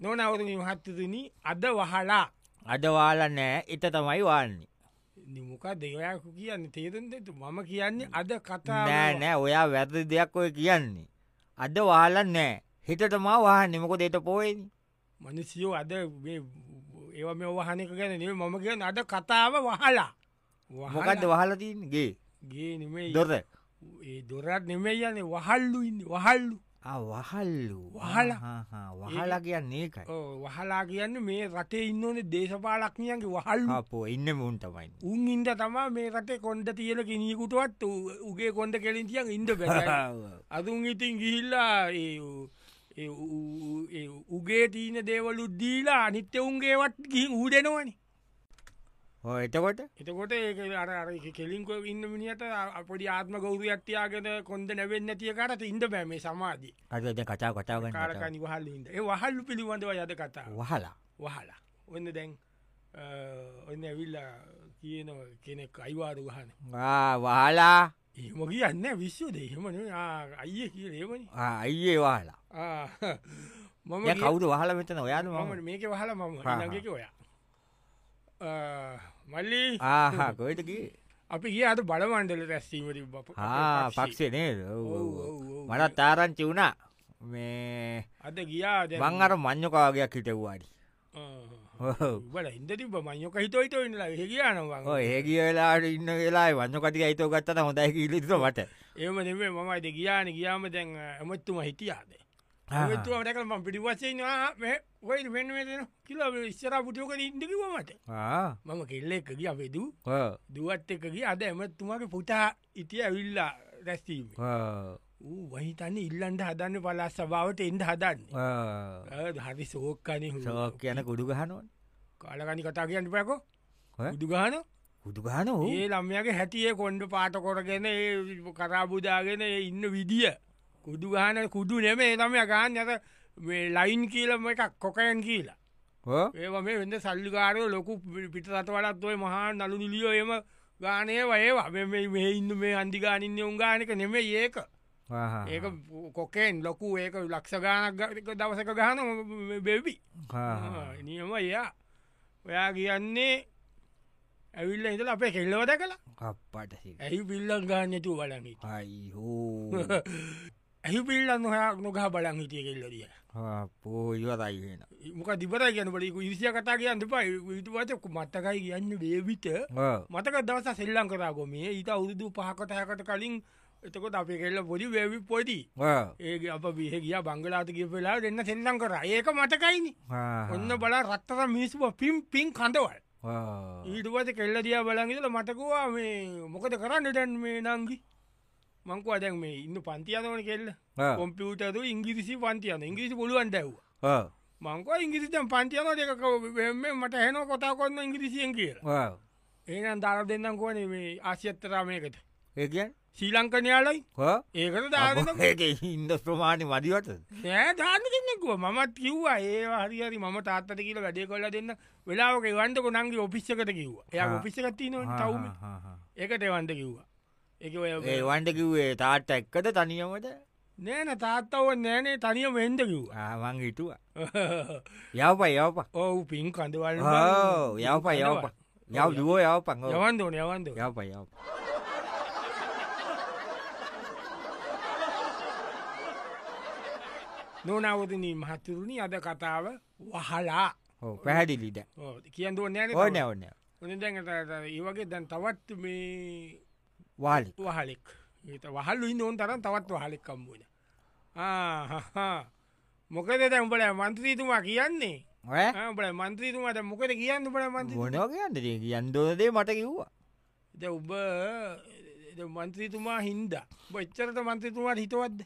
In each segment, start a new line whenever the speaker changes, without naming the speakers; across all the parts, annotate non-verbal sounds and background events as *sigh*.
නොනවරුණින් හත්තතුන අද වහලා
අදවාල නෑ එත තමයි වාන්නේ
නිමුක දෙවයකු කියන්න තේරෙන්ද එතු මම කියන්නේ අද කතා
නෑ නෑ ඔයා වැරදි දෙයක් ඔය කියන්නේ. අද වාල නෑ හිතටමා වාහ නිමකො දෙට පෝයනි
මනසියෝ අද ඒව මේ වහනක ගැන නෙවෙයි මම කියන අද කතාව වහලා
මොකක්ද වහලතින්ගේ
ගේ නෙමේ
දොර
ඒ දොරත් නෙමේ යන වහල්ලු ඉන්න වහල්ලු
ආ, වහල්ලු
වහල.
ආ, ආ, වහලා කියන්නේ ඒකයි
ඔව්, වහලා කියන්න මේ රටේ ඉන්නඕන දේශපාලක්නියන්ගේ වහල්ලු
අපෝ ඉන්න මුන් තමයි
උන් ඉන්ද තමා මේ රටේ කොන්ඩ තියල කෙනීකුටුවත් උගේ කොන්ඩ කෙලින් තියන් ඉන්ඩ බැ අදුන් ඉතින් ගිහිල්ලා ඒ උ- ඒ උ- උ- ඒ උගේ තීන දේවලු දීලා අනිත්‍ය උන්ගේවත් ගිහින් ඌඩෙනවනි
හෝ එතකොට
එතකොට ඒක අර අර එක කෙලින්කො ඉන්න මිනිට අපොඩි ආත්ම ගෞරු අත්තියාගෙන කොන්ද නැවෙන්න තියකරට ඉන්ඩ බෑම සමාධී
අදද කචා කටාගන්න
කාරක නිවහල්ලඉද ඒ වහල්ලු පිළිබඳව යද කතා
වහලා
වහලා ඔන්න දැන් අ, ඔන්න ඇවිල්ලා කියන කෙනෙක් අයිවාරු ගහන
ආ, වහලා
ඒම කියන්න විශ්ව දෙහෙම අයිය කිය ඒමනි
ආ, අයියේ වාලා
මම
දැන්
කිය-
කවුරු වහල මෙතන ඔයාල
මම මේක වහල මම
හා හා.
ඊළඟක ඔයා අ,
Ah.
මල්ලි
ආහා කොයිටකි
අපි ගිය අද බලමණ්ඩල රැස්සීමට බප
ආ පක්ෂේ නේද
Oh,
ඔව්, ඔව්, ඔව්. මටත් තාරංචි වුණා මේ
අද ගියා
මං අර මං්ඥකාවගයක් හිටව්වාඩි
Ah, බල ඉද තිබ මයක හිතයිට ඉන්නලා හෙගියානවා
ඒගිය වෙලාට ඉන්න වෙලා වන්න කතික අයිතෝ ගත්තන හොඳයි කිලිත මට
එම දෙේ මම අද ගියාන ගියාම දැන් ඇමත්තුම හිටියාද ඇමතුමටකල ම පිටිවසෙන් වයි වෙනුවෙන කිල ඉස්සර පුටියෝක ඉන්දකිවමට
ආ,
මම කෙල්ල එක ගිය පෙදූ
ඔව්,
දුවත් එක ගිය අද ඇමත්තුමගේ පුතා ඉතිය ඇවිල්ලා රැස්තීම
ඔව්,
ඌ වහිතන්න ඉල්ලන්ට හදන්න පලා සභාවට එන්ඩ හදන්න
ඔව්.
හරි සෝක්කන
ෂෝක් කියන කුඩු ගහනුවන්
කාලගනි කතා කියන්න පැකෝ
ඔය?
උදුගාන
කුඩු ගහන
ඒ ළම්මගේ හැටිය කොන්්ඩ පාට කොරගෙන ඒ කරාබුදාගෙන ඒ ඉන්න විදිිය කුදු ගාන කුඩු නෙමේ තම ගාන් යත මේ ලයින් කියලම එකක් කොකයන් කියලා ඒව මේ වෙද සල්ලිකාරය ලොකු පි- පිට සතවලත් ඔය මහා නලු නිලියෝ එම ගානය වයවා මේ මේ ඉන්න මේ අන්දිගානින්න උන්ගානක නෙමේ ඒක
Ah.
ඒක කොකෙන් ලොකු ඒක ලක්ෂ ගානක් ග- දවසක ගාන බෙවි
Ah.
නියම එයා ඔයා කියන්නේ ඇවිල්ල ඉඳල අපේ කෙල්ලවද කලා
කප්පට
ඇහි පිල්ලක් ගාන්නතු බලන් හිට
අයිහෝ
*laughs* ඇහි පිල්ලන්න හයක් නොකහ බලන් හිටිය කෙල්ලරිය
පෝයවතයිගෙන
මොක දිබර කියන බලක ඉරිසිය කතා කියන්න පයි විතුවතක මත්තකයි කියන්න බේවිත මතක දවස සෙල්ලං කරාගො මේ ඊට අවුරුදු පහකටහකට කලින් එතකොට අපේ කෙල්ල පොඩි වැවි පොඩි ඒක අප බිහ ගිය බංගලාත කිය වෙලා දෙන්න සෙල්ලං කර ඒක මතකයිනි ඔන්න බලා රත්තර මිනිස්සුව පිම් පින් කඳවල් ඊටුවත කෙල්ල දිය බලගල මටකවා මේ මොකද කරන්න දැන් මේ නංගි මංකවා දැන් මේ ඉන්න පන්තියනවන කෙල්ල කොම්පියුටතු ඉංගිරිසි පන්තියන ඉංග්‍රිසි පුලුවන් දැව් මංකව ඉංගිරිතන් පන්තියන දෙකව මට හැන කොතා කොන්න ඉංග්‍රිසියෙන් කියලා ඒනම් දාර දෙන්නම් කෝන මේ ආශ්‍යත්තරාමයකට
ඒකන්
ශීලංකනයාලයි ඒකට දාරන
ඒක ඉන්ද ප්‍රමාණි වඩිවට
නෑ ධාන්න දෙන්නෙකුව මමත් කිව්වා ඒ හරිහරි ම තාත්තට කියල වැඩේ කොල්ල දෙන්න වෙලාවක වන්ටක නංගේ ඔපිස්සකට කිව්වා එය
ආ.
ඔපිස්සකත් තිනට තවම ඒකට එවන්ට කිව්වා එක
ඒ වන්ඩ කිව්වේ තාට එක්කද තනියමට
නෑන තාත්තව නෑනේ තනිය වෙන්ඩ කිව්වා *laughs*
ආමං හිටුව
ඔව්.
යවප යවප
ඔව් පින් කඳවල්
යවප යවප යව දුවෝ යවප
යවන්ද යවන්ද
යවප යවප
නොනවදන මහතුරුණි අද කතාව වහලා
හෝ පැහැදිලිද
ඔව්. කියන්න නෑන
ඕ නැවන
දැ ඒවගේ දැන් තවත් මේ
වාලි
වහලෙක් ඒත වහල්ලු ඉන්න ඕන් තරම් තවත් වහලෙක්කම්බුවන මොකද දැ උඹල මන්ත්‍රීතුමා කියන්නේ
ඔය
බල මන්ත්‍රීතුමාට මොකද කියන්න බල මන්ත්‍රී
මොනෝ කියන්නද යන්දෝදේ මට කිව්වා
ද උබ මන්ත්‍රීතුමා හින්ද බොච්චරට මන්ත්‍රීතුමාට හිතවත්ද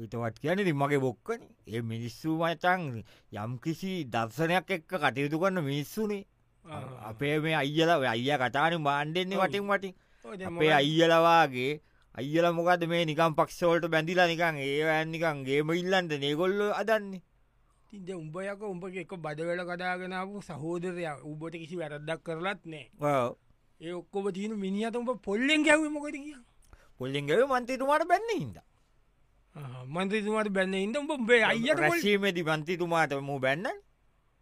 හිතවත් කියන ඉතින් මගේ බොක්කන ඒ මිනිස්සු මචන් යම් කිසි දර්ශනයක් එක්ක කටයුතු කරන්න මිනිස්සුනේ අපේ මේ අයිල අයිය කතාන බාණ්ඩෙන්නේ
ඔව්.
වටින් වටින් අපේ අයියලවාගේ අයිල මොකද මේ නිකම් පක්ෂවලට බැඳිලා නිකං ඒවැන්නිකන් ගේම ඉල්ලන්ට නෙගොල්ල අදන්නේ
තිද උඹයක උඹගේ එක බදවල කදාගෙනාපු සහෝදරය උබට කිසි වැරද්දක් කරලත් නෑ
ඔව්.
ඒ ඔක්කොම තියන මිනිියත උඹ පොල්ලෙන් ගැව මොකද කිය
පොල්ලින්ගේ මන්තේතුමාට බැන්න හිද
මන්ත්‍රීතුමාට බැන්න ඉද උඹේ අයියට පොඩි-
රැසීමේදි පන්තිතුමාට මු බැන්න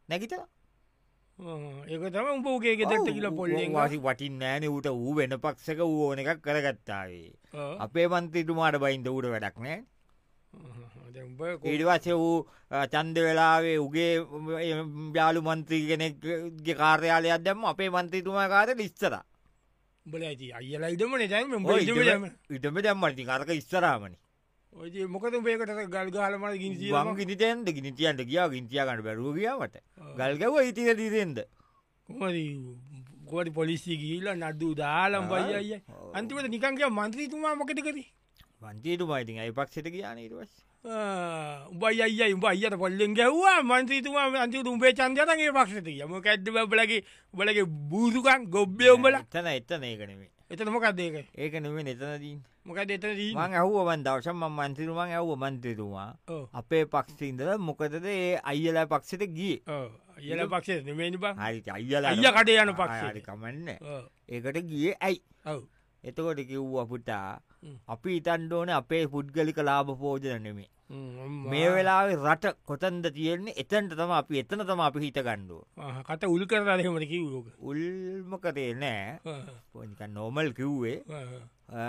නැකිත
ආ, ඒක තම උඹ උගේ ගෙදෙක්ට කියල පොල්ලෙන්
වාසි වටින් නෑන ඌට ඌ වෙන පක්ෂක වූ ඕන එකක් කරගත්තාවේ අපේ පන්තිතුමාට බයින්ද ඌට වැඩක් නෑ ඊඩවසේ වූ චන්ද වෙලාවේ උගේ ජාලු මන්ත්‍රී කෙනෙක්ගේ කාර්යාලයක් දැම අපේ මන්ත්‍රීතුමා කාර ඉස්සර
බල ඇති අයලයිදම නැතයිම
ඉටම දැම්මටි කරක ඉස්සරාමනි
ඔය මොකද උඹේකට ගල් ගාලමට ගින්සිය
ගම ගිනිතයන්ද ගිනිතියන්ට කියාව ගින්තියාකට බැරුව කියාවට ගල්ගව ඉතිර දිරෙන්ද
ගොඩ පොලිසි ගීල නඩ්ඩු දාලම් බයි අය අන්තිමට නිකංගේ මන්ත්‍රීතුමා මොකට කරේ
වන්තීතුමා ඉතින් අයි පක්ෂට කියන ඉටවස්
උබයි අයි උඹ අයට පොල්ලෙන් ගැව්වා මන්ත්‍රීතුමා අන්තිතු උඹේ චන්දයතගේ පක්ෂතිය ම ඇද්ද බලගේ බලගේ බූදුකන් ගොබ්බය උඹල
එතන එත්තන ඒකනෙමේ
එතන මොකක්දේක
ඒක නෙමේ නතනදී
මොකද එතන දී
මං ඇහුවන් දවශම් මන්තිරුවන් ඇව මන්තතුමා
ඔව්.
අපේ පක්ෂඉදල මොකදද ඒ අයිලා පක්ෂට ගිය
ඔව්. අයියල පක්ෂේ නෙමේනි බං
හරි අයිල
අයියා කඩේ යන පක්ෂයට.
කමන්න
ඔව්.
ඒකට ගිය ඇයි
ඔව්
එතකොට කිව්ව අපුටා
හ්ම්.
අපි ඉතන්ඩෝන අපේ පුද්ගලික ලාභ පෝජන නෙමේ
හ්ම්.
මේ වෙලාවේ රට කොතන්ද තියෙන්නේ එතන්ට තම අපි එතන තම අපි හිත ගණ්ඩුව
ආ, කට උල් කරදහෙමට කිව්ලෝක
උල්මකදේ නෑ පොනික නොමල් කිව්වේ
ඔව්
අ,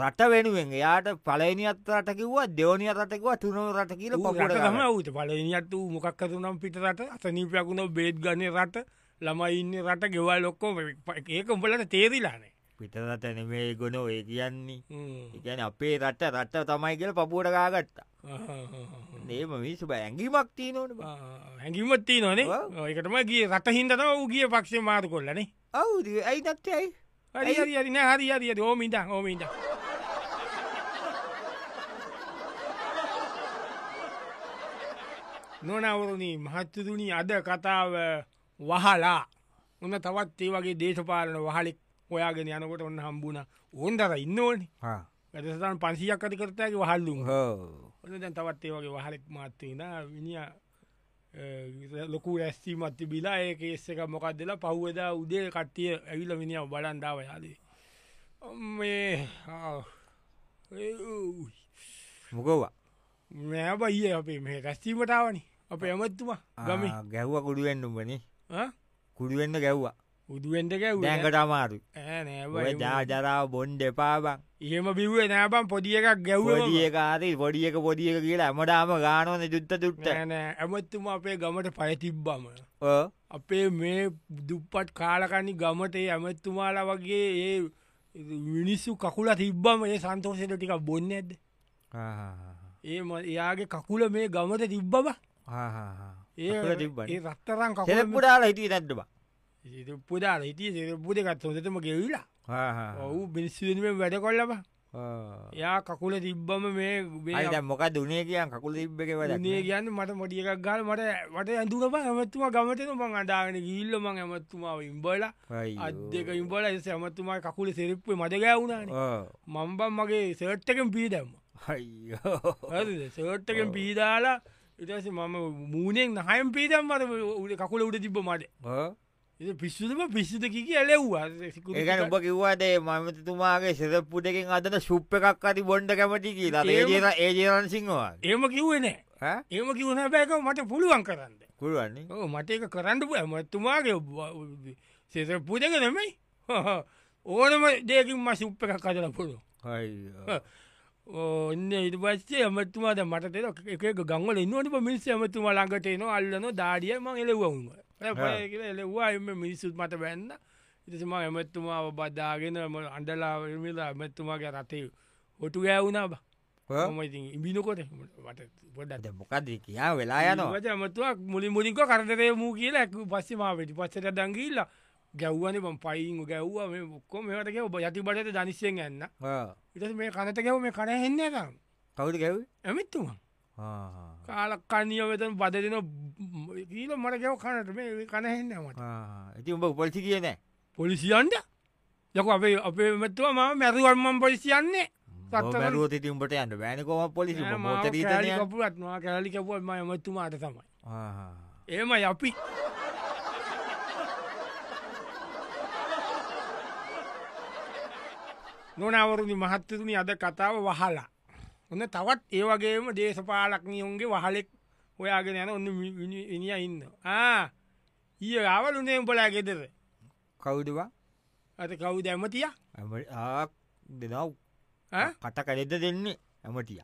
රට වෙනුවෙන් එයාට පලනිත් රට කිව්වා දෙවනිය රටකවා තුනව රට කියල
තම
පොපුට
ඌත පලනිියත් වූ මොකක්කතුනම් පිට රට අසනීපයක්ුණ බේද් ගන්න රට ළමයිඉන්න රට ගෙවල් ලොක්කෝ ඒක උඹලට තේරිලානේ
පිටරට නෙමේ ගොන ඒ කියන්නේ ඉගැන අපේ රට රට තමයි කියල පපුුවට ගාගත්තා නේම මිසු බැඇගීමක් තියනට
හැඟිමත්ති නොනේ
ඔව්.
ඒකටම ගිය රට හින්දන වූගේ පක්ෂේ මාර කොල්ලනේ
අවුද ඇයි තත්යයි
හරි හරි හරි නෑ, හරි හරි හරි ඕමිට ඕමිට නොනවරුණී මහත්තතුනි අද කතාව වහලා ඔන්න තවත් ඒ වගේ දේශපාලන වහලෙක් ඔයාගෙන යනකොට ඔන්න හම්බුණ ඕන්දර ඉන්න ඕනි ඇදසතන් පන්සියක් අති කරතයගේ වහල්ලුම්
හෝ
ඔන්න දැන් තවත් ඒ වගේ වහලෙක් මත්තේන විනිිය ලොකු රැස්තීමත්ති බිලා ඒ කේස් එක මොකක් දෙලා පහුවදා උදේ කට්ටිය ඇවිල මිනිිය බලන්ඩාව යාලේ මේ ආ, ඒ ඌයි.
මොකවා
නෑ බයිය අපේ මේ රැස්තීමටාවනි අප ඇමත්තුමා ගම
ගැහ්ව කුඩුවෙන්ඩුම්බන කුඩුවෙන්ඩ ගැව්වා
උදුවෙන්ටක
දැන්කට අමාරු ඔය
නෑ
ජාජරාව බොන්්ඩ එපාබං
එහෙම බිව්ේ නෑබම් පොඩිය එකක් ගැව්වලගේ
පොඩියකාරී පොඩියක පොඩියක කියලා ඇමටාම ගානෝන යුත්ත තුට්ට
නෑ ඇමත්තුම අපේ ගමට පයතිබ්බම අපේ මේ දුප්පට් කාලකනි ගමටේ ඇමැත්තුමාලා වගේ ඒ මිනිස්සු කකුල තිබ්බම ඒ සන්තෝසයට ටික බොන්න ඇද ඒ ම- එයාගේ කකුල මේ ගමට තිබ්බම
ඒ තිබ්බන
ඒ රත්තරන්
සෙලපුඩාල හිටිය නැට්ටබ
පුදාල හිටිය සෙරපුද ගත්තොතම ගෙවිලා ඔවු බිනිස්සුවෙන් වැඩ කොල්ලබ එයා කකුල තිබ්බම මේ මේ
අයිට මොකක් දුනේ කියන් කකුල තිබ්බක
නේ
වැඩ
කියන්න මට මොටිය එකක් ගල් මට වට ඇඳුරම ඇමත්තුමා ගමතන මං අඩාගෙන ගිල්ල මං ඇමත්තුමාව ඉම්බලා අත් දෙක ඉම්බල එස ඇමතුමා කකුල සිරිප්පේ මට ගෑවුණන මම්බම් මගේ සර්ට්කෙන් පීදැම්ම සර්ට්කෙන් පීදාලා ඉටස මම මූනෙන් නහයම් පීදම් මට උඩ කකුල උඩ තිබ මට ඉ පිස්සුම පිස්සුත කික ඇලෙව්වා
ඒකන උඹ කිව්වාදේ මමතතුමාගේ සෙරප්පුටකින් අදන සුප් එකක් අති බොන්්ඩ කැමටි කියලා
ඒම-
ඒජ ඒජරන් සිංහවා
ඒම කිව්වේ නෑ ඒම කිවන බෑක මට පුළුවන් කරන්න
පුළුවන්නේ
ඕ මට එක කරන්න පුුව ඇමතුමාගේ සෙස පුදක නෙමයි *laughs* ඕනම දෙකින් ම සුප්ප එකක් කදල පුළුව ඔන්න ඉට පස්සේ ඇමතුමාද මට තෙර එක ගංවල ඉන්නවට මිනිස්ස ඇමතුමා ළඟටේන අල්ලන දාඩියම එලවුම එලවා එම මිනිස්සුත් මට බැන්න ඉතිසම ඇමත්තුමාව බදාගෙන ම අන්ඩලාවමිල ඇමත්තුමාගේ රතේ හොටු ගෑවුණා බ ම ඉතින් ඉබිනකොට මට පොඩ
අද මොකද කියා වෙලා යනවා
ඇමතුවක් මුලි මුලින්ක කරදරය මූ කියලා ඇක පස්සමාවට පස්සට දංගීල්ලා ගැව්වන පම් පයින් ගැව්වා මේ ඔක්කොම මෙවටක ඔබ යති බට දනිශයෙන් ඇන්න ඉට මේ කනතකැව මේ කරහෙන්නකම්
කවුද ගැව්
ඇමිත්තුමා කාලක් කණිය වෙතන බද දෙන කීල මට ගැව කනට මේ කනහෙන්න මට
ඇති උඹ උපල්සි කියන
පොලිසියන්ට යක අපේ අපේ මෙත්තුව ම මැරුවල්මන් පොලිසියන්නේ සත්තර-
බැරුව ති උඹට යන්න බෑනකොම පොලිසි මෝතරීතනය
කපුත්වා කැලිකපුුවම ඇමත්තුමාට තමයි ඒම යපි නොනවරුණි මහත්තතුනි අද කතාව වහලා ඔන්න තවත් ඒවගේම දේශපාලක්නියුන්ගේ වහලෙක් ඔයාගෙන යන ඔන්න එනිය ඉන්න ඊය ආවලුනේ උඹලා ගෙදර
කවුදවා
ඇත කවු දැමතිය
දෙනව් කට කලෙද දෙන්නේ ඇමටිය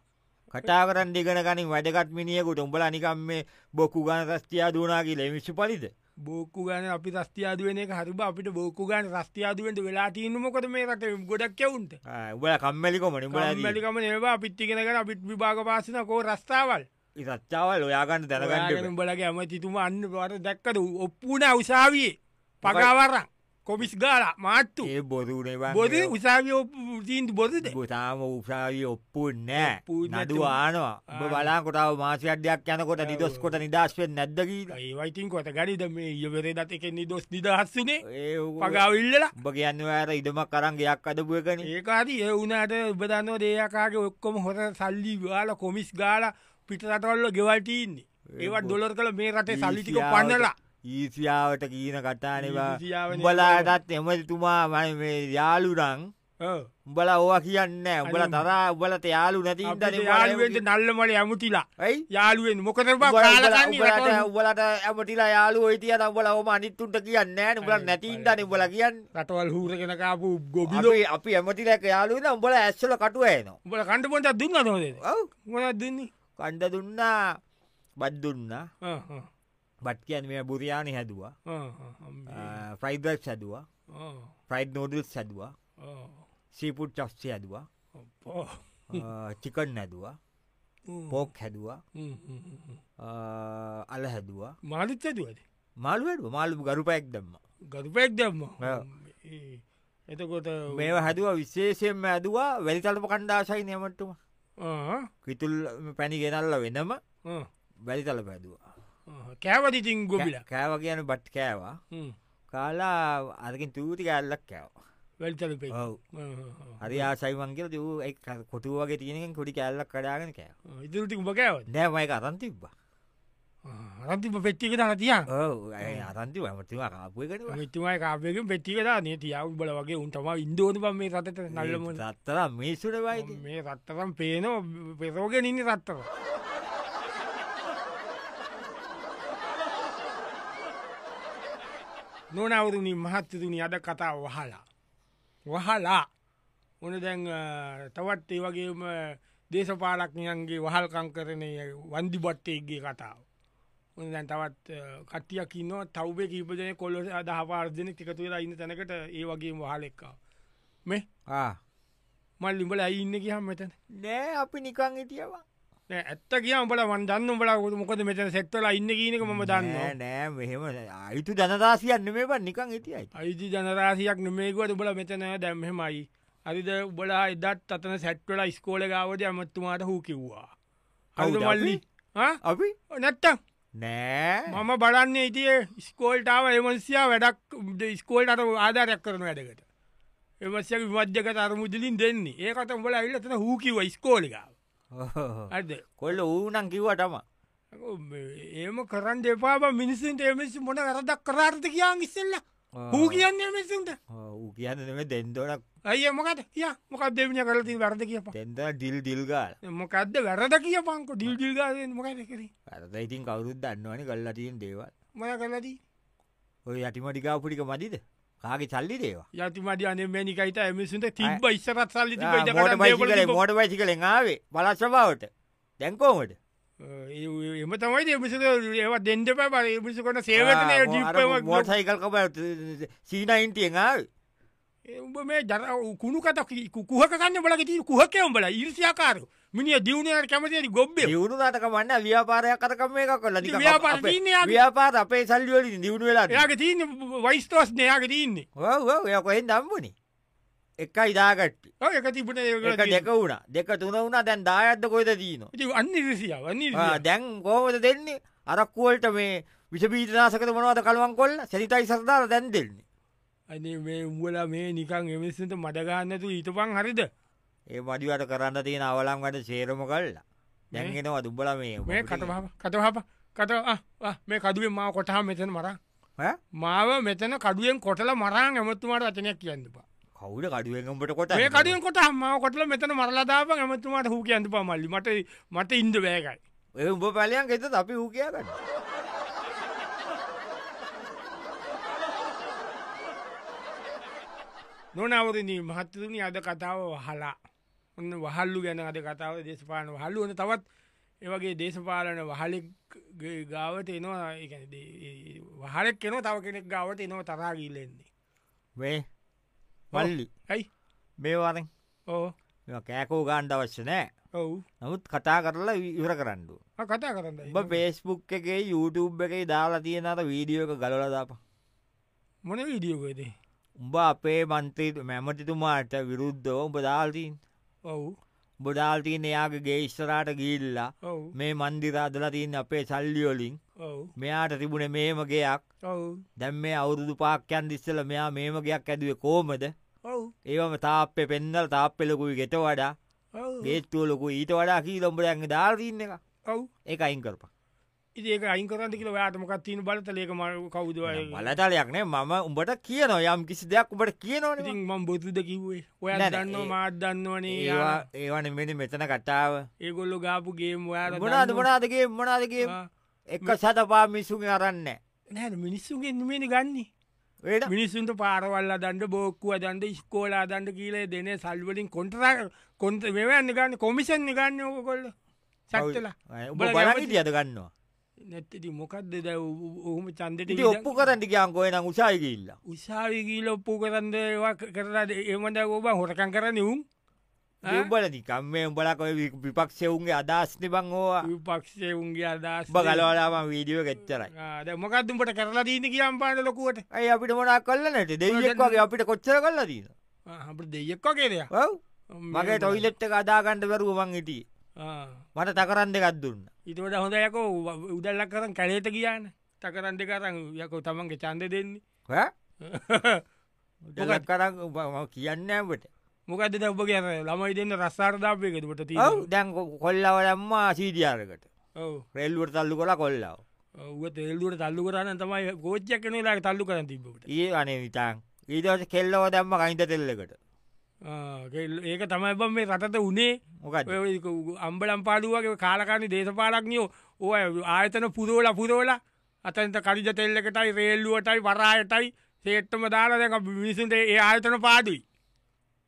කටා කරන් දෙගෙන ගනින් වැඩගත් මිනිියකුට උඹල නිකම් මේ බොක්කු ගන රස්තියා දනාගේ ලෙමිශ්ි පලිද
බෝක්කු ගන අපි රස්තියාදුවන එක හරිබ අපිට බෝක්කු ගන රස්තියාදුවෙන්ට වෙලා තියන්නමොකද මේ රට ගොඩක් කවුන්ට
උබල කම්මැලිකොමන උබල
මලිකම ඒවා පිත්තිගෙනගෙන අපිත් විභාග පාසන කෝ රස්ථාවල්
රත්තාවල් ඔයාගන්න දැනගන්න
බලගේ ඇමතිතුම අන්න පට දැක්කද ඔප්පුන උසාවියේ පගවරන් කොමිස් ගාල මාට්තු
ඒ බොරුණේවා
බොද උසාවිය තීන්ට බොදද
ගොතාම උසාවිය ඔප්පු නෑ
ඔප්පුයි නැති
නඩු ආනවා උඹ
ආ.
බලාකොටාව මාසිකට්යක් යනකොට නිදොස් කොට නිදශ්වෙන් නැද්දකීට
ඒවයිතින් කොට ගනිද මේ ඉවරේ දත එක නිදොස් නිදහස්සනේ
ඒ
පගවිල්ලලා
උඹ කියන්න ඇර ඉඩමක් කරන් ගයක් අදපුය කන
ඒකාරී ඒ වනාට උබදන්නව දෙයකාගේ ඔක්කොම හොර සල්ලි වාල කොමිස් ගාල පිටරටවල්ල ගෙවල්ටීන්නේ ඒවත් ඩොලර් කළ මේ රටේ සල්ලිටික පන්නලා
ඊසියාවට කියන කටානවා
ඊර්ෂ්‍යාව නේද?
උඹලාටත් එමතුමා මම මේ යාලුරං
ඔව්.
උඹල ඕවා කියන්න උඹල
අනේ
තරා උබලට යාලු
අපිට
නැතින්දන
යාළුවෙන්ට නල්ල මල ඇමුතිලා
ඇයි
යාළුවෙන් මොකද බා කාලකන්නේ
උබලට උබලට ඇමටිලා යාලු යිතිය උබල ඕම අනිත්තුන්ට කියන්න නෑ උබල
අනේ,
නැතින්දන උබල කියන්න
රටවල් හූරගෙන කාපු ගොබිලෝ
අපි අපි ඇමටිලක යාලුන උඹල ඇස්සල කටුවයනවා
උඹල කණ්ඩ පොට දුන්න නොදේ
ඔව්
මොනත් දෙන්නේ
කණ්ඩ දුන්නා බද්දුන්න
ආ, ආ,
බත් කියන් මේ බුරයානි හැදවා
ආ, ආ, අම්මේ.
ෆ්‍රයිඩක් සැදවා
ආ,
ෆ්‍රයිඩ් නෝඩල් සැදවා
ආ,
සීපුට් චස්සේ ඇදවා
අප්පා.
චිකන් හැදවා
හ්ම්.
පෝක් හැදවා
හ්ම්, හ්ම්, හ්ම්, හ්ම්.
අල හැදවා
මාලිත් ඇතුවද
මාළුවට මාලු ගරුපයක් දම්ම
ගරුපෙක් දෙම්ම
ඔව්.
එතකොට
මේ හැදුව විශේෂයෙන්ම ඇදවා වැලිතලප කණ්ඩාශයි නමටම
ආ,
කිතුල් පැණි ගෙනල්ල වෙනම
ආ,
වැලිතල පැදවා
ආ. කෑවදිතින් ගොබිලා
කෑව කියන බට් කෑවා කාලා අරකින් තූති කැල්ලක් කෑවා
වැල්තල පෙ
ඔව් හරි ආසයිවන්ගේ දූ කොටුවගේ තියෙනකින් කොඩි කැල්ලක් කඩාගෙන කෑව
ඉදිරටි උඹ කෑවද
නෑමයි අතන් තිබ්බ
රන්තිම පෙට්ටික තන තියන්
ඔව අතන්ති ඇමතිවා කාපුයකට
තුමයි කාපයකින් පෙට්ටිකතා නේ තියාව බල වගේ උන්ටම ඉන්දෝන පම මේ රටට නල්ලම
සත්තර මිසුට වයිති
මේ රත්තරම් පේන පෙරෝගෙන ඉන්න රත්තර නොනවරුණින් මහත්තතුනි අද කතා වහලා වහලා ඕන දැන් අ, තවත් ඒ වගේම දේශපාලක්නයන්ගේ වහල්කං කරනය වන්දි බට්ටේගේ කතාව ඕන දැන් තවත් අ, කට්ටියක් ඉන්න තවබේ කීපදන කොල්ල අදහපාර්ජන තිකතුවෙලා ඉන්න තැනකට ඒ වගේ වහලෙක්කා මේ මල් ලිඹල ඇයිඉන්න කියහම් මෙතන
නෑ අපි නිකං හිටියවා
නෑ, ඇත්ත කිය උඹල වන් දන්න උඹලා කො- මොකද මෙතන සෙක්ටල ඉන්න කියනක ම දන්න
නෑ මෙහෙම අයුතු ජනදාසියන්න මේ බන් නිකං හිටියයි
අයිති ජනරාසියක් නොමේකුවට උබල මෙතන දැම්හෙමයි අරිද උබලා එදත් අතන සැට්වල ස්කෝල ගාවට ඇමත්තුමාට හූ කිව්වා අද
කවුද
මල්ලි
අපි
නැත්ත
නෑ
මම බලන්න ඉතිය ස්කෝල්ටාව එමන්සියා වැඩක් ස්කෝල්ට අට ආධාරයක් කරන වැඩකට එමසිය විමද්‍යක අරමුදලින් දෙන්නේ ඒකට උඹල ඇල්ලතන හූ කිව ස්කෝලිකාව අද
කොල්ල ඌනං කිව්වටම
ඒම කරන්න එපාබ මිනිසුන්ට එමසි මොන වැරදක් කරාර්ථ කියන් ඉස්සෙල්ල හූ කියන්නේ මිසුන්ට
ඌ කියන්න මේ දෙන්දොනක්
ඇය මොකද කිය මොකක් දෙවිනි කරලති වැරද කියප
දෙන්ද ඩිල් ඩිල්ගාල්
මොකක්ද වැරද කියපංකො ඩිල්ඩිල්ගාය මොකද කර
ඇත ඉතින් කවුරුද දන්නවනි කල්ලටීන් දේවල්
මොය කරලදී
ඔය යටිමටිකාපුටික මදිද කාගේ සල්ලි දේවා
යති මඩි අනමනිකයිත එමිසුන්ට තිබ ඉස්සරත් සල්ලි
මෝට බයිසිකල මෝට බයිසිකලෙන් ආවේ බලස්සභාවට දැන්කෝමට
එම තමයි එමිස ඒවා දෙන්ඩ පැබ එමිස කොට සේවටනය ජිප්පම
මෝටසයිකල් කබ සීනයින්ටියෙන් ආවේ
උඹ මේ ජර කුණු කතකි කුහක කන්න බලගති කුහකයම්බල ඉරිසියාකාරු මිනිිය දියුණයට කැමතියට ගොබ්බේ
දියුණු නාටකමන්න ව්‍යාපාරයක් කරකම එක කොල්ල
ව්‍යාපාර තියන්නේ යාගේ.
ව්‍යාපාර අපේ සල්ලිවල දියුණු වෙලා
එයාගේ තියන වයිස්තෝස් නයාගේ තියන්නේ
ඔයකොහෙන් දම්බුණි එක ඉදාගට්ටි
ඔය එක තිබන
එක දෙක වුණ දෙක තුන වුණා දැන් දායත්ද කොයිද දීනවා
අන්න රසිය වන්නේ
ආ, දැන් ගෝමද දෙන්නේ අරක්කුවලට මේ විශපීතනාසක මොනවද කළුවන් කොල්ල සැරිතයි සරදාර දැන් දෙන්නේ
අනේ මේ උවල මේ නිකන් එමසට මඩගන්නතු ඊටපන් හරිද
ඒ මඩිවට කරන්න තියෙන අවලම් වට සේරම කල්ලා දැන්ගෙනවා දුබල මේ
මේ කටහප කටහප කට ආ, ආ, මේ කදුවෙන් මාව කොටහ මෙතන මරා
ඈ?
මාව මෙතන කඩුවෙන් කොටල මරා ඇමතුමාට වචනයක් කියන්නපා
කවුට කඩුවෙන්ගම්ට කොට
ඒ කටින් කොට හම්මාව කොටල මෙතන මරලදාප ඇමතුමාට හූ ඇන්තු පමල්ලි මට මට ඉන්ද බෑකයි
ඒ උඹ පැලයන් එත අපි හූ කියගන්න
නොනවරණ මහත්තතුනි අද කතාව වහලා ඔන්න වහල්ලු ගැන අද කතාව දේශපාන වහල්ලුවන තවත් ඒවගේ දේශපාලන වහලෙක් ගාවට එනවා වහලෙක් කෙන තව කෙනෙක් ගාවට එනවා තරාගීලෙන්නේ
වේ මල්ලි
ඇයි
මේවාරෙන්
ඕ
කෑකෝ ගාන්ඩ අවශ්‍ය නෑ
ඔවු
නමුත් කතා කරලා ඉවර කරන්නඩු
කතා කරන්න
උඹ පේස්බුක් එකේ යුටබ් එකේ දාලා තියෙනට වීඩියෝ එක ගලලදාපා
මොන විඩියෝකයිද
උඹ අපේ මන්තීට මැමතිතුමාට විරුද්ධෝ උඹ දාල්තීන්
ඔවු
බොඩාල්ටීන් එයාගේ ගේස්තරාට ගිල්ලා
ඔවු
මේ මන්දිරාදලතින් අපේ සල්ලියෝලින්
ඔවු
මෙයාට තිබුණ මේමගේයක්
ඔවු
දැම් මේ අවුරුදු පාක්‍යයන් ඉස්සල මෙයා මේමගයක් ඇදුවේ කෝමද
ඔවු
ඒවම තාප්පෙ පෙන්දල් තාප්පෙලොකුයි ගෙට වඩා
ඔවු
ගේත්තුවලොකු ඊට වඩා කී ලොඹ ඇඟ දාල්තින්න එක
ඔවු
එක අයින් කරප
ඒක අයිකරන්ට කියල යාටමකක් තින බලත ලේක මර කවුදව
බලතලයක්නේ මම උඹට කියන යම් කිසි දෙයක් උඹට කියනවන
ඉතින් මම් බොතුද කිව්වේ ඔය
නෑ නෑ
දන්න
ඒ-
මාත් දන්නවනේ
ඒවා ඒවන මෙනි මෙතන කටාව
ඒගොල්ලො ගාපු ගේම් ඔයාල
මොනාද මොනාදගේ මොනාදගේ එක සතපා මිසුන් අරන්න
නැ මිනිස්සුන්ගේ නිමනි ගන්නේ
වේට
මිනිස්සුන්ට පාරවල්ල දන්ඩ බෝක්කුව දන්ඩ ස්කෝලා දන්ඩ කියලේ දෙන සල්වලින් කොන්ටර කොන්ත මෙවැන්න ගන්න කොමිෂන් ගන්න ඕකොල්ල සැටලා
උඹ
උඹලා
බලගට අද ගන්නවා
නැත්තති මොකක්ද දැ ඔහම චන්දට
ඉති ඔප්පු කරට කියන්කෝය නම් උසායකිල්ල
උසාවිගීල ඔප්පු කරන්දවා කරලා එමට ඔබ හොරකන් කරන උුම්
උඹල නිකම්මේ උඹලකොය විපක්ෂයවුන්ගේ අදස්න බං *laughs* ඕවා
පක්ෂය උන්ගේ අදස්
උඹ ගලවලාම වීඩියෝ ගෙච්චරයි
මොකක්දුම්ට කරලා දීන කියම් පාන ලොකුවට
ඇයි අපිට මොනා කල්ල නට දෙවක්ගේ අපිට කොච්චර කල්ලා දීන
අපට දෙයෙක් වගේද
ඔව් මගේ ටොයිලෙට්ට අදාගණ්ඩ බැරුවමං ඉටි මට තකරන් දෙකත් දුන්න
ඉතුවට හොඳ යකෝ උදල්ලක් කරන් කලේට කියන්න තකරන් දෙ කරන්න යකෝ තමන්ගේ චන්ද දෙන්නේ
ඈ? උදලක් කරන් උඹ මම කියන්න ඇට
මොකද ඔබ කියන ළමයි දෙන්න රස්සාර්ධාපයකතුට ති
ඔව් දැන් කොල්ලවලම්මා සීටියාරකට රෙල්ුවට තල්ලු කොලා කොල්ලාව
ඔව තෙල්දුවට තල්ලු කරන්න තමයි ගෝච්චක් කනලාට තල්ලු කරන තිබට
ඒ අනේ විතාන් ඊදවස කෙල්ලව දැම්ම කයින්ත තෙල්ලකට
ඒක තමයි බම් මේ රටට උනේ
මොකත්
ඔය ඔය ක- අම්බලම් පාඩුවගේ කාලකානි දේශපාලක්නියෝ ඕය ආයතන පුරෝල පුරෝල අතන්ත කරිජ තෙල්ලකටයි රේල්ලුවටයි වරායටයි සේට්ටම දාලා දැක මිනිසුන්ට ඒ ආයතන පාඩුයි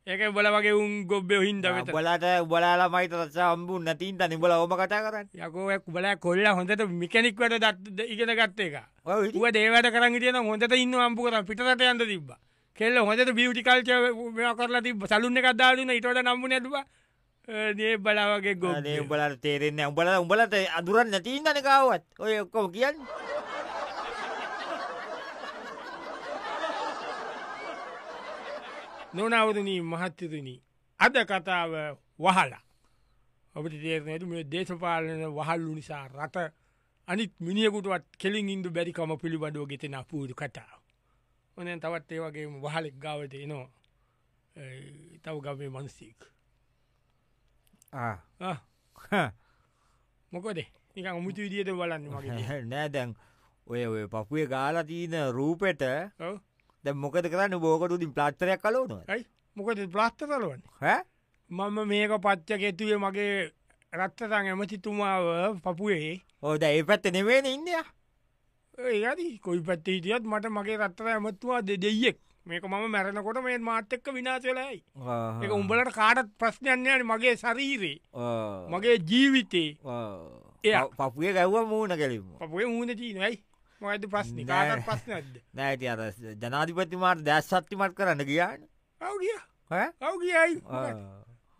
ඒක බල වගේ උන් ගොබ්බය හින්ද වෙත
බලට උබලාලාමයිත සම්බු නැතින්ට නිබල ඕම කතා කරන්න
යකෝයක් බල කොල්ල හොඳට මිකෙනෙක් වැට දත් ඉගෙන ගත්ත එක
ඔව් ඉතින්.
ව දේවට කරන් තියන හොඳට ඉන්න අම්පුකර පිටට යන්න තිබ කෙල්ල හොඳට බියටිකල්ච කරලා තිබ සලුන්න එකක්දාලන ඉටට නම්බු නැතුව දේ බලවගේ ගොබ
අනේ උඹලට තේරෙන්න උඹල උඹලට අදුරන් නැතින්දන කාවත් ඔය ඔක්කොම කියන්න
නොනවරණී මහත්තතුනී අද කතාව වහලා ඔබට තේරනතු මේ දේශපාලන වහල්ලු නිසා රට අනිත් මිනිියකුටවත් කෙලින් ඉන්දු බැරිකම පිළිබඳව ගෙතෙන පූරු කටාව ඕනන් තවත් ඒවගේ වහලෙක් ගාවට එනවා ඒ, තව ගමේ මනසීක් මොකොද නික මුතු විදිියට බලන්න
*laughs*
මගේ
නෑ දැන් ඔය ඔය පපුය ගාලතිීන රූපෙට
ඔව්.
ද මොකද කරන්න බෝකටුතින් ප්ලාස්තරයක් කලවන
ඇයි මොකද ප්ලාස්තරලුවන් මම මේක පච්ච කෙතුවේ මගේ රත්තතන් ඇමතිතුමාව පපුයේ
ඕද ඒ පැත්ත නෙවෙන ඉන්දිය
ඒරි කොයි පැත්තීතියත් මට මගේ රත්තර ඇමත්තුවා දෙ දෙයෙක් මේක මම මැරණකොට මේ මාතක්ක විනාශලයි එක උඹලට කාටත් ප්‍රශ්නයන්නයට මගේ ශරීරේ මගේ ජීවිතේ එයා.
පපුය ගැව්ව මූුණ කෙලින්ම
පපුේ මූුණ චීනයි මඇත ප්‍රශ්න
නෑ.
කාටත් ප්‍රශ්නයක්ද
නෑති අර ජනාධිපතිමාට දැස් සත්තිමත් කරන්න ගියාන්න
ඔව කිය
හ?
ඔව කියයි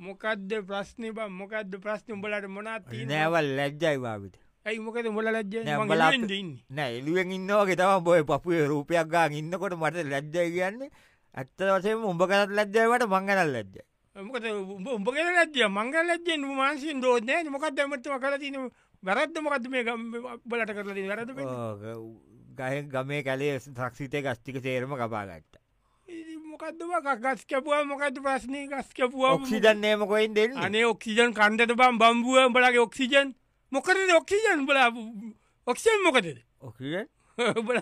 මොකක්ද ප්‍රශ්නය බ මොකක්ද ප්‍රශ්න උඹලට මොනාත්ති
නෑවල් ලැජ්ජයි වාවිට
ඇයි මොකද මොල ලජ්ජ
නෑ, උඹලා අප-
ඉන්න
නෑ එලුවෙන් ඉන්නවාගේ තම බොය පපුේ රූපයක් ගා ඉන්නකොට මට ලැජ්ජය කියන්නේ ඇත්ත වසේ උඹ කරත් ලැජ්ජයවට මංගනල් ලැජ්ජ
මොකද උඹ- උඹගේ ලජ්ජය මංගල් ලජ්ජෙන් මාන්සින් දෝනෑ මොකක්ද ඇමත්තුම කරතින වැරද්ද මොකද මේ ගම්- බලට කරලදී වැරද පෙන්න්න.
ගහ ගමේ කැලේ සක්ෂිතය ගස්්ටික සේරම කපාගත්ත
මොකක්දවා ගස් කැපුවා මොකද ප්‍රශ්නය ගස් කැපුවා
ඔක්සිදන්නේම කොයින් දෙන්න
අනේ ඔක්සිජන් කන්දට බම් බම්බුව බලගේ ඔක්සිජන් මොකද ඔක්සිජන් බල ඔක්ෂන් *laughs* මොකද
ඔක්සිඩන්
බල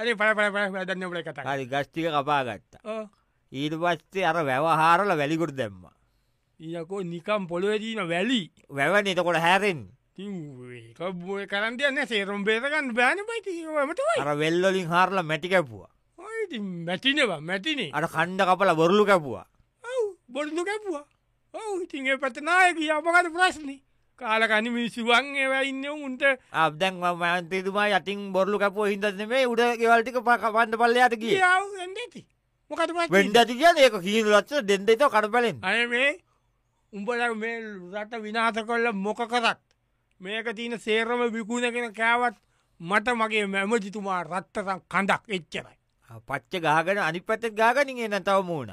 අනේ පල පල පල දන්න බල කතා
හරි ගස්්ටික කපාගත්ත ඊට පස්සේ අර වැවහාරල වැලිකුට දැම්ම
ඊකෝ නිකම් පොළොවදීන වැලි
වැවන එතකොට හැරෙන්
කබුව කරන්තියන්න සේරුම් බේතකන්න බෑන පයිතිමටයි
අර වෙල්ලොලින් හාරල මැටිකැපුවා
ඉති මැටිනවා මැටිනේ
අට කණ්ඩ කපල බොරලු කැපුවා
ඔව් බොඩු කැපුවා ඔවු ඉතින්ගේ පටනායක අපකට ප්‍රශ්නි කාලකනි මිසිුවන් ඒව ඉන්න උන්ට
අබදැන් මන්තතුමා යතින් බොරලු කැපුව හිදන මේ උඩ ගෙවල්ටික පකපන්ඩ පල්ලයාට කිය
ඇති මොකට ප
වෙන්ඩති කිය ඒක කියීන ලත්ස දෙන්දත කරපලෙන්
අය මේ උඹල මේ රට විනාස කොල්ල මොක කරත් මේක තියන සේරම විකුණගෙන කෑවත් මට මගේ මැම ජිතුමා රත්තසම් කඳක් එච්චරයි
පච්ච ගාගෙන අනි පතත් ගාගනින් එන තව මූුණ